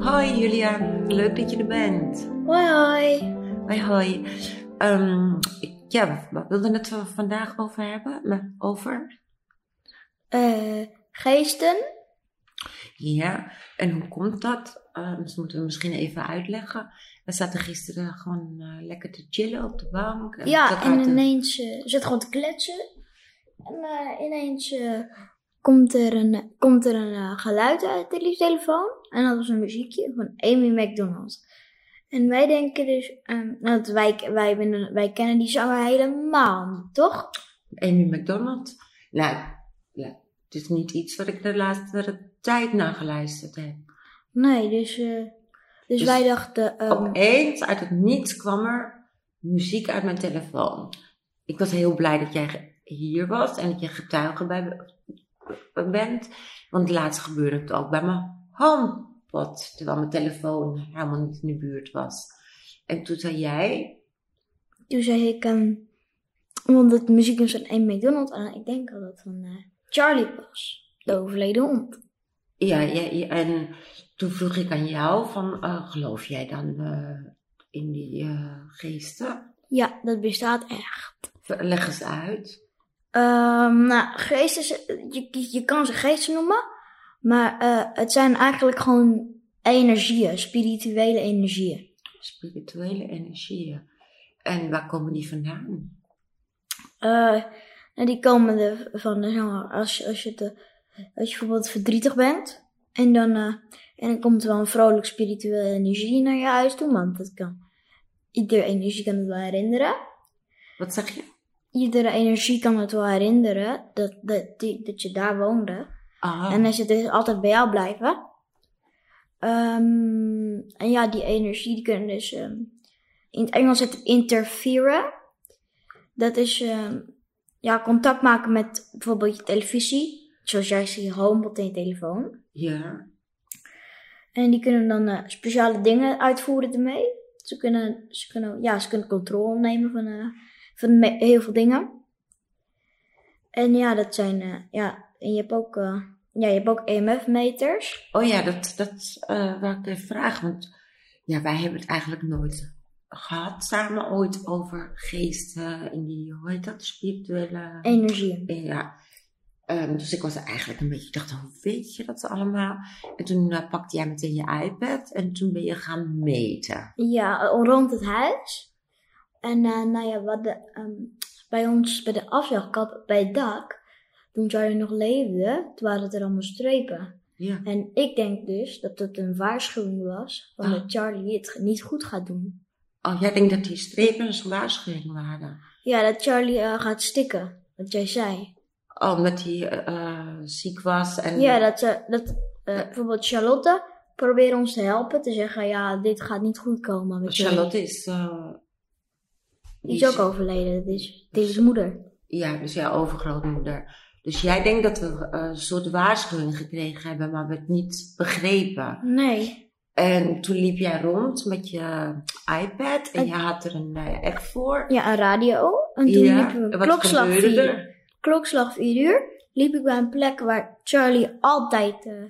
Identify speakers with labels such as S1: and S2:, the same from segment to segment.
S1: Julia, leuk dat je er bent.
S2: Hoi, hoi.
S1: Hoi, hoi. Ehm, ik- ja, we wilden het er vandaag over hebben. maar Over?
S2: Eh, geesten?
S1: Ja. En hoe komt dat? Ehm, dat moeten we misschien even uitleggen. We zaten gisteren gewoon eh, lekker te chillen op de bank. En we
S2: Ja,
S1: zaten
S2: en
S1: uit de-
S2: ineens eh, zit gewoon te kletsen. En eh, ineens eh, komt er een, komt er een eh, geluid uit de telefoon. En dat was een muziekje van Amy McDonald. En wij denken dus, ehm want wij, wij, binnen- wij kennen die zanger helemaal niet, toch?
S1: Amy McDonald. Nou, ja, het is niet iets wat ik de laatste tijd naar geluisterd heb.
S2: Nee, dus, eh, dus,
S1: Dus-
S2: wij dachten, ehm,
S1: Opeens uit het niets kwam er muziek uit mijn telefoon. Ik was heel blij dat jij ge- hier was en dat je getuige bij me- bent. Want laatst gebeurde het ook bij mijn handpot, terwijl mijn telefoon helemaal niet in de buurt was. En toen zei jij,
S2: toen zei ik, ehm, want het muziek is van Amy McDonald. En ik denk dat dat van eh, Charlie was, de overleden hond.
S1: ja, ja, ja, en toen vroeg ik aan jou van, eh, geloof jij dan eh, in die eh, geesten?
S2: Ja, dat bestaat echt.
S1: Leg eens uit.
S2: Ehm, nou, geesten, z- je, je- je kan ze geesten noemen, maar eh, het zijn eigenlijk gewoon energieën, spirituele energieën.
S1: Spirituele energieën. En waar komen die vandaan?
S2: Eh, en die komen er van, eh, zeg maar, als, je- als, je te, als je bijvoorbeeld verdrietig bent, en dan, eh, en dan komt er wel een vrolijk spirituele energie naar je huis toe, want dat kan, iedere energie kan het wel herinneren.
S1: Wat zeg je?
S2: Iedere energie kan het wel herinneren dat, dat, die, dat je daar woonde.
S1: Ah,
S2: En dan zit dus altijd bij jou blijven. Ehm, en ja, die energie die kunnen dus. ehm, in het Engels het interferen. Dat is ehm, ja, contact maken met bijvoorbeeld je televisie. Zoals jij ziet, je homebot en je telefoon.
S1: ja.
S2: En die kunnen dan eh, speciale dingen uitvoeren ermee. Ze kunnen, ze kunnen, ja, ze kunnen controle nemen van, eh, van me- heel veel dingen. En ja, dat zijn, eh, ja, en je hebt ook, eh, ja, je hebt ook EMF-meters.
S1: Oh ja, dat, dat eh wou ik even vragen. Want ja, wij hebben het eigenlijk nooit gehad samen ooit over geesten in die, hoe heet dat, spirituele...
S2: energie.
S1: Eh, Ja. Ehm, dus ik was eigenlijk een beetje, ik dacht, hoe weet je dat allemaal? En toen eh, pakte jij meteen je iPad en toen ben je gaan meten.
S2: Ja, rond het huis. En eh, nou ja, wat de, ehm, bij ons, bij de afzuigkap, bij het dak, toen Charlie nog leefde, toen waren het er allemaal strepen.
S1: Ja.
S2: En ik denk dus dat het een waarschuwing was van
S1: Ah.
S2: dat Charlie het niet goed gaat doen.
S1: Oh, jij denkt dat die strepen een waarschuwing waren?
S2: Ja, dat Charlie eh, gaat stikken, wat jij zei.
S1: Oh, omdat hij eh, eh, ziek was en...
S2: Ja, dat, ze, dat eh, bijvoorbeeld Charlotte probeerde ons te helpen, te zeggen, ja, dit gaat niet goed komen met Charlie.
S1: Charlotte is... eh,
S2: Die is ook overleden, dat is, dit is moeder.
S1: Ja, dus jouw overgrootmoeder. Dus jij denkt dat we eh, een soort waarschuwing gekregen hebben, maar we het niet begrepen.
S2: Nee,
S1: En toen liep jij rond met je iPad en
S2: En-
S1: je had er een eh app voor.
S2: Ja, een radio. En toen liepen we
S1: en
S2: klokslag vier
S1: gebeurde
S2: uur.
S1: er?
S2: Klokslag vier uur liep ik bij een plek waar Charlie altijd, eh,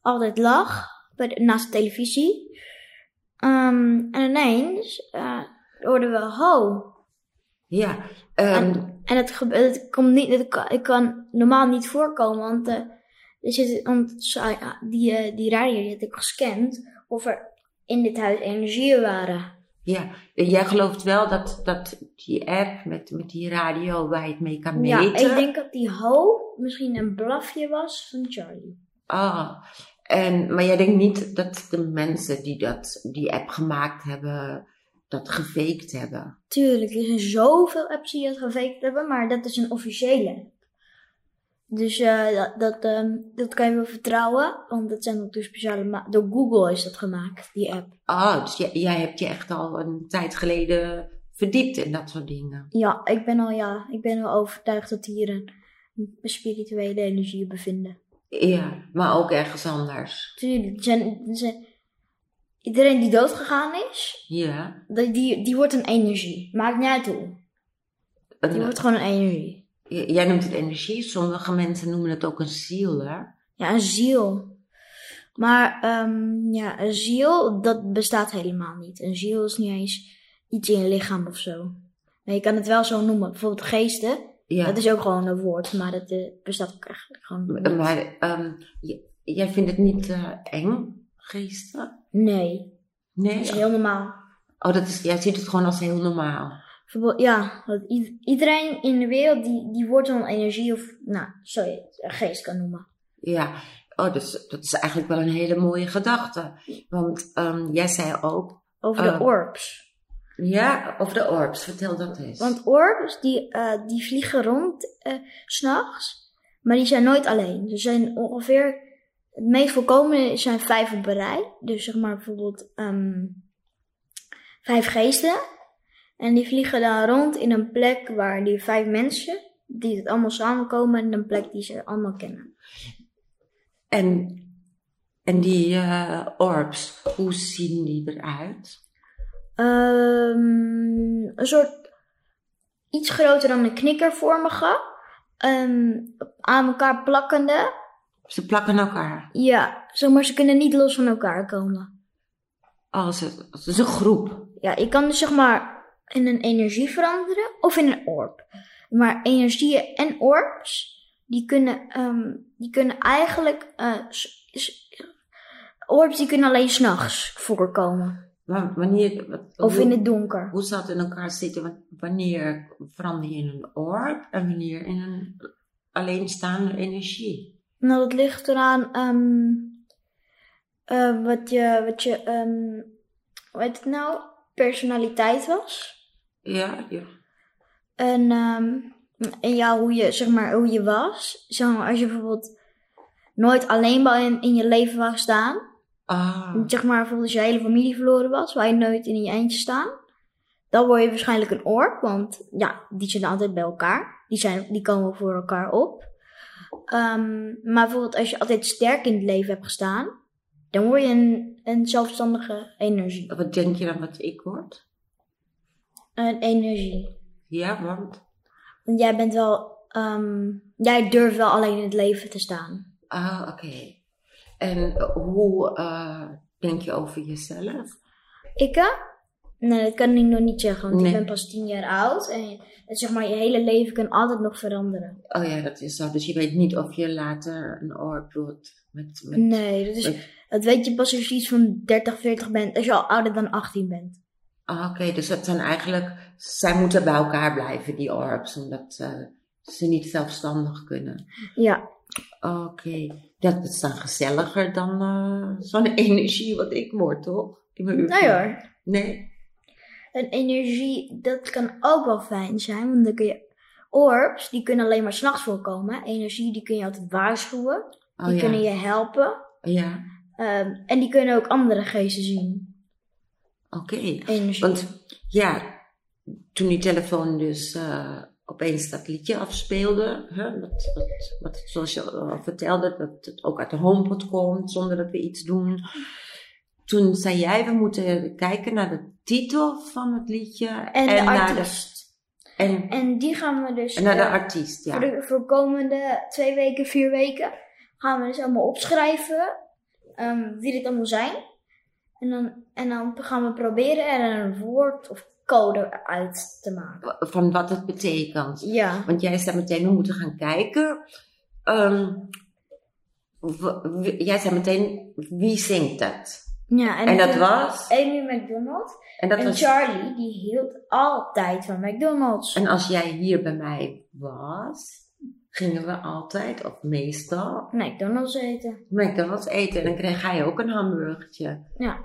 S2: altijd lag. Bij de- naast de televisie. Ehm, en ineens eh, hoorden we ho.
S1: Ja, ehm,
S2: En het, gebe- het komt niet, het kan, het kan normaal niet voorkomen, want, eh, er zit, want ze- ah, die, eh, die radio die had ik gescand of er in dit huis energieën waren.
S1: ja. En jij gelooft wel dat, dat die app met, met die radio waar je het mee kan
S2: Ja,
S1: meten.
S2: ik denk dat die ho misschien een blafje was van Charlie.
S1: Ah, en, maar jij denkt niet dat de mensen die dat, die app gemaakt hebben, dat gefaked hebben?
S2: Tuurlijk, er zijn zoveel apps die dat gefaked hebben, maar dat is een officiële app. Dus eh, dat, dat, ehm, dat kan je wel vertrouwen, want dat zijn ook de speciale... ma- Door Google is dat gemaakt, die app.
S1: Oh, dus jij, jij hebt je echt al een tijd geleden verdiept in dat soort dingen.
S2: Ja, ik ben al, ja, ik ben al overtuigd dat hier een, een spirituele energie bevinden.
S1: Ja, maar ook ergens anders.
S2: Tuurlijk, er zijn, er zijn- iedereen die doodgegaan is,
S1: Ja.
S2: dat- die, die wordt een energie. Maakt niet uit hoe. Die
S1: En,
S2: wordt gewoon een energie.
S1: eh, jij noemt het energie, sommige mensen noemen het ook een ziel, hè?
S2: Ja, een ziel. Maar ehm, ja, een ziel, dat bestaat helemaal niet. Een ziel is niet eens iets in je lichaam of zo. Maar je kan het wel zo noemen. Bijvoorbeeld geesten,
S1: Ja.
S2: dat is ook gewoon een woord, maar dat eh, bestaat ook eigenlijk gewoon niet.
S1: Maar ehm, j- jij vindt het niet eh, eng, geesten?
S2: Nee,
S1: Nee.
S2: dat is heel normaal.
S1: Oh, dat is, jij ziet het gewoon als heel normaal.
S2: Bijvoorbeeld, ja, want i- iedereen in de wereld die, die wordt dan energie of, nou, zo je het een geest kan noemen.
S1: Ja, oh, dus, dat is eigenlijk wel een hele mooie gedachte. Want ehm, jij zei ook,
S2: Over
S1: Oh.
S2: de orbs.
S1: ja, over de orbs, vertel dat eens.
S2: Want orbs, die, eh, die vliegen rond eh, s s'nachts, maar die zijn nooit alleen. Er zijn ongeveer, het meest voorkomende zijn vijf op een rij. Dus zeg maar bijvoorbeeld ehm, vijf geesten. En die vliegen dan rond in een plek waar die vijf mensen, die het allemaal samenkomen, in een plek die ze allemaal kennen.
S1: en, en die eh, orbs, hoe zien die eruit?
S2: Ehm, een soort iets groter dan een knikkervormige, ehm, aan elkaar plakkende.
S1: Ze plakken elkaar.
S2: Ja, zomaar ze kunnen niet los van elkaar komen.
S1: Als het, het is een groep.
S2: Ja, je kan dus zeg maar in een energie veranderen of in een orb. Maar energieën en orbs, die kunnen, ehm, die kunnen eigenlijk... eh, s- s- orbs die kunnen alleen s'nachts voorkomen.
S1: Maar wanneer, wat-
S2: Of
S1: hoe,
S2: in het donker.
S1: hoe zou het in elkaar zitten? Want Wanneer verander je in een orb en wanneer in een alleenstaande energie?
S2: Nou, dat ligt eraan ehm, eh, wat je... Wat je ehm, hoe heet het nou? Personaliteit was.
S1: Ja, ja.
S2: En, ehm, en ja, hoe je, zeg maar, hoe je was. Zeg maar, als je bijvoorbeeld nooit alleen maar in, in je leven wou staan.
S1: Ah,
S2: Zeg maar, bijvoorbeeld als je hele familie verloren was, waar je nooit in je eentje staan. Dan word je waarschijnlijk een ork, want ja, die zitten altijd bij elkaar. Die, zijn, die komen voor elkaar op. Ehm, maar bijvoorbeeld als je altijd sterk in het leven hebt gestaan, dan word je een, een zelfstandige energie.
S1: wat denk je dan wat ik word?
S2: Een energie.
S1: Ja, want.
S2: Want jij bent wel, ehm, jij durft wel alleen in het leven te staan.
S1: Ah, oké. En hoe eh, denk je over jezelf?
S2: Ik? eh? Nee, dat kan ik nog niet zeggen, want
S1: Nee.
S2: ik ben pas tien jaar oud. En het, zeg maar, je hele leven kan altijd nog veranderen.
S1: Oh ja, dat is zo. Dus je weet niet of je later een orb wordt. Met, met...
S2: Nee, dat,
S1: met-
S2: is, dat weet je pas als je iets van 30, 40 bent. Als je al ouder dan 18 bent.
S1: Ah, oké. Dus dat zijn eigenlijk. Zij moeten bij elkaar blijven, die orbs, omdat eh, ze niet zelfstandig kunnen.
S2: Ja,
S1: Oké. Dat is dan gezelliger dan eh, zo'n energie wat ik word, toch? In mijn
S2: nou
S1: uurtje.
S2: hoor.
S1: Nee.
S2: En energie, dat kan ook wel fijn zijn, want dan kun je... Orbs, die kunnen alleen maar s'nachts voorkomen. Energie, die kun je altijd waarschuwen. Die
S1: Oh ja.
S2: kunnen je helpen.
S1: Ja.
S2: Ehm, en die kunnen ook andere geesten zien.
S1: Oké.
S2: Energie.
S1: Want ja, toen die telefoon dus eh, opeens dat liedje afspeelde, hè, wat, wat, wat, zoals je al vertelde, dat het ook uit de HomePod komt zonder dat we iets doen. Toen zei jij, we moeten kijken naar de titel van het liedje
S2: En, de
S1: naar
S2: artiest.
S1: de, en,
S2: En die gaan we dus
S1: en naar de
S2: eh,
S1: artiest.
S2: voor
S1: Ja.
S2: de voor komende twee weken, vier weken, gaan we dus allemaal opschrijven ehm, wie dit allemaal zijn. En dan, en dan gaan we proberen er een woord of code uit te maken.
S1: Van wat het betekent.
S2: Ja,
S1: Want jij zei meteen, we moeten gaan kijken. Ehm, w- w- jij zei meteen, wie zingt dat?
S2: ja
S1: En, dat
S2: toen
S1: was?
S2: Amy McDonald.
S1: En dat
S2: en
S1: was
S2: Charlie, die hield altijd van McDonald's.
S1: En als jij hier bij mij was, gingen we altijd, of meestal,
S2: McDonald's eten.
S1: McDonald's eten. En dan kreeg hij ook een hamburgertje.
S2: Ja,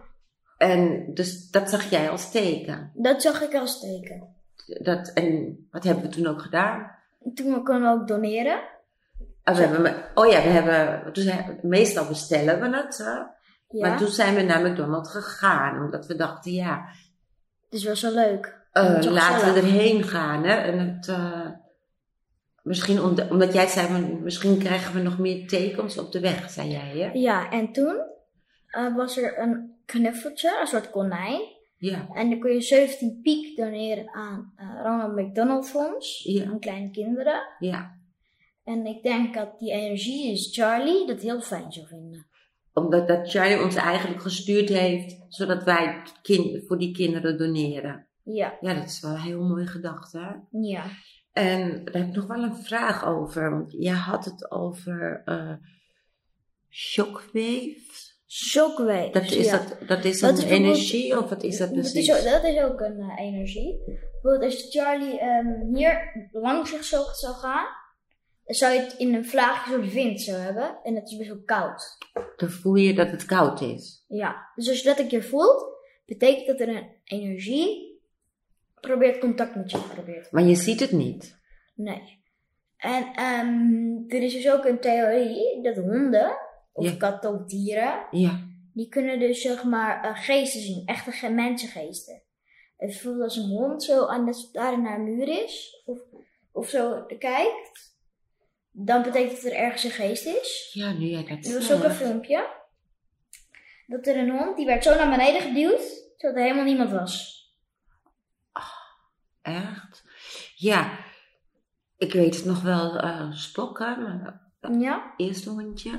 S1: En dus dat zag jij als teken.
S2: dat zag ik als teken.
S1: Dat, en wat hebben we toen ook gedaan?
S2: Toen konden we ook doneren.
S1: Ah, we hebben, me- oh ja, we hebben, toen zei- meestal bestellen we het. Hè?
S2: Ja,
S1: Maar toen zijn we naar McDonald's gegaan, omdat we dachten, ja,
S2: dus was wel leuk.
S1: eh,
S2: Dat was wel
S1: laten we
S2: gezellig.
S1: erheen gaan. Hè? En het, eh, misschien om de- omdat jij zei, van, misschien krijgen we nog meer tekens op de weg, zei jij. Hè?
S2: Ja, en toen eh, was er een knuffeltje, een soort konijn.
S1: Ja.
S2: En dan kun je 17 piek doneren aan eh, Ronald McDonald Fonds.
S1: Ja.
S2: Aan kleine kinderen.
S1: Ja,
S2: En ik denk dat die energie is Charlie dat heel fijn zou vinden.
S1: Omdat dat Charlie ons eigenlijk gestuurd heeft, zodat wij het kind, voor die kinderen doneren.
S2: Ja.
S1: Ja, dat is wel een heel mooi gedacht, hè?
S2: Ja.
S1: En daar heb ik nog wel een vraag over. Want jij had het over eh shockwaves.
S2: Shockwave.
S1: Dat is,
S2: ja.
S1: dat, dat is
S2: Dat
S1: een
S2: is bijvoorbeeld-
S1: energie of wat is dat
S2: Dat
S1: precies?
S2: is, ook, dat is ook een eh, energie. Bijvoorbeeld als Charlie ehm, hier langs zich zo zou gaan, dan zou je het in een vlaagje soort wind zou hebben. En dat is best wel koud.
S1: Dan voel je dat het koud is.
S2: Ja. Dus als je dat een keer voelt, betekent dat er een energie probeert contact met je te proberen.
S1: Maar je ziet het niet.
S2: Nee. En ehm, er is dus ook een theorie dat honden, of
S1: Ja.
S2: katten of dieren,
S1: Ja.
S2: Die kunnen dus zeg maar eh, geesten zien, echte ge- mensengeesten. Het voelt als een hond zo aan de staren naar een muur is, of, of zo kijkt. Dan betekent dat er ergens een geest is.
S1: Ja, nu jij dat
S2: Er was ook een
S1: zegt.
S2: filmpje. Dat er een hond, die werd zo naar beneden geduwd, zodat er helemaal niemand was.
S1: Echt? Ja. Ik weet het nog wel. eh Spokken, mijn
S2: Ja?
S1: eerste hondje.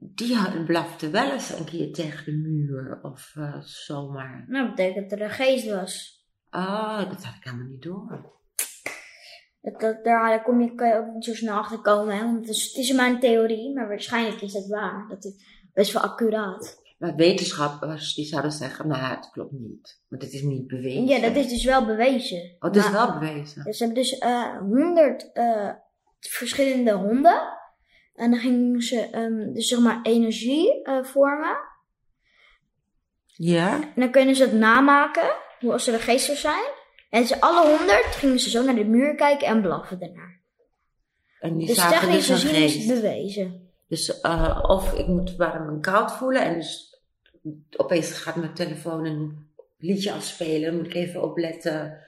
S1: Die had- blafte wel eens een keer tegen de muur of eh, zomaar.
S2: Nou, dat betekent dat er een geest was.
S1: Oh, dat had ik helemaal niet door.
S2: Dat, dat, daar daar kom je, kan je ook niet zo snel achter komen, hè? want het is, het is maar een theorie, maar waarschijnlijk is dat waar. Dat is best wel accuraat.
S1: Maar wetenschappers die zouden zeggen, nou het klopt niet. Want het is niet bewezen.
S2: Ja, dat is dus wel bewezen.
S1: Oh, het is
S2: Maar-
S1: wel bewezen.
S2: Ja, ze hebben dus honderd eh, verschillende honden. En dan gingen ze ehm, dus zeg maar energie eh, vormen.
S1: Ja?
S2: En dan kunnen ze het namaken, hoe als ze de geest zou zijn. En ze alle honderd gingen ze zo naar de muur kijken en blaffen daarna.
S1: En die
S2: dus
S1: zagen
S2: technisch
S1: dus een
S2: gezien is het
S1: geest.
S2: bewezen.
S1: Dus eh, of ik moet warm en koud voelen. En dus opeens gaat mijn telefoon een liedje afspelen. Dan moet ik even opletten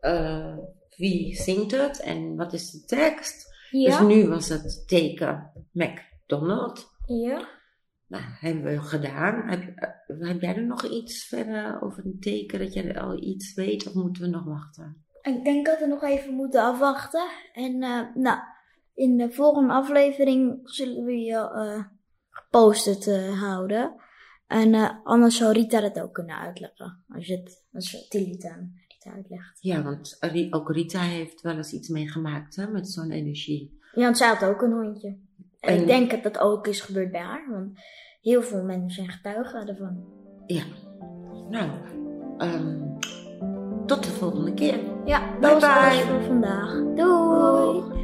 S1: eh, wie zingt het en wat is de tekst.
S2: Ja,
S1: Dus nu was het teken McDonald.
S2: ja.
S1: Nou, hebben we gedaan. Heb, eh, heb jij er nog iets verder over een teken dat jij er al iets weet of moeten we nog wachten?
S2: Ik denk dat we nog even moeten afwachten. En eh, nou, in de volgende aflevering zullen we je eh gepostet eh, houden. En eh, anders zou Rita dat ook kunnen uitleggen. Als je het, als je Tilly aan Rita uitlegt.
S1: Ja, want Ri- ook Rita heeft wel eens iets meegemaakt hè, met zo'n energie.
S2: Ja, want zij had ook een hondje. En,
S1: En-
S2: ik denk dat dat ook is gebeurd bij haar. Want heel veel mensen zijn getuigen ervan.
S1: Ja. Nou, ehm, tot de volgende keer.
S2: Ja, dat
S1: Bye
S2: was alles
S1: bye.
S2: voor vandaag. Doei!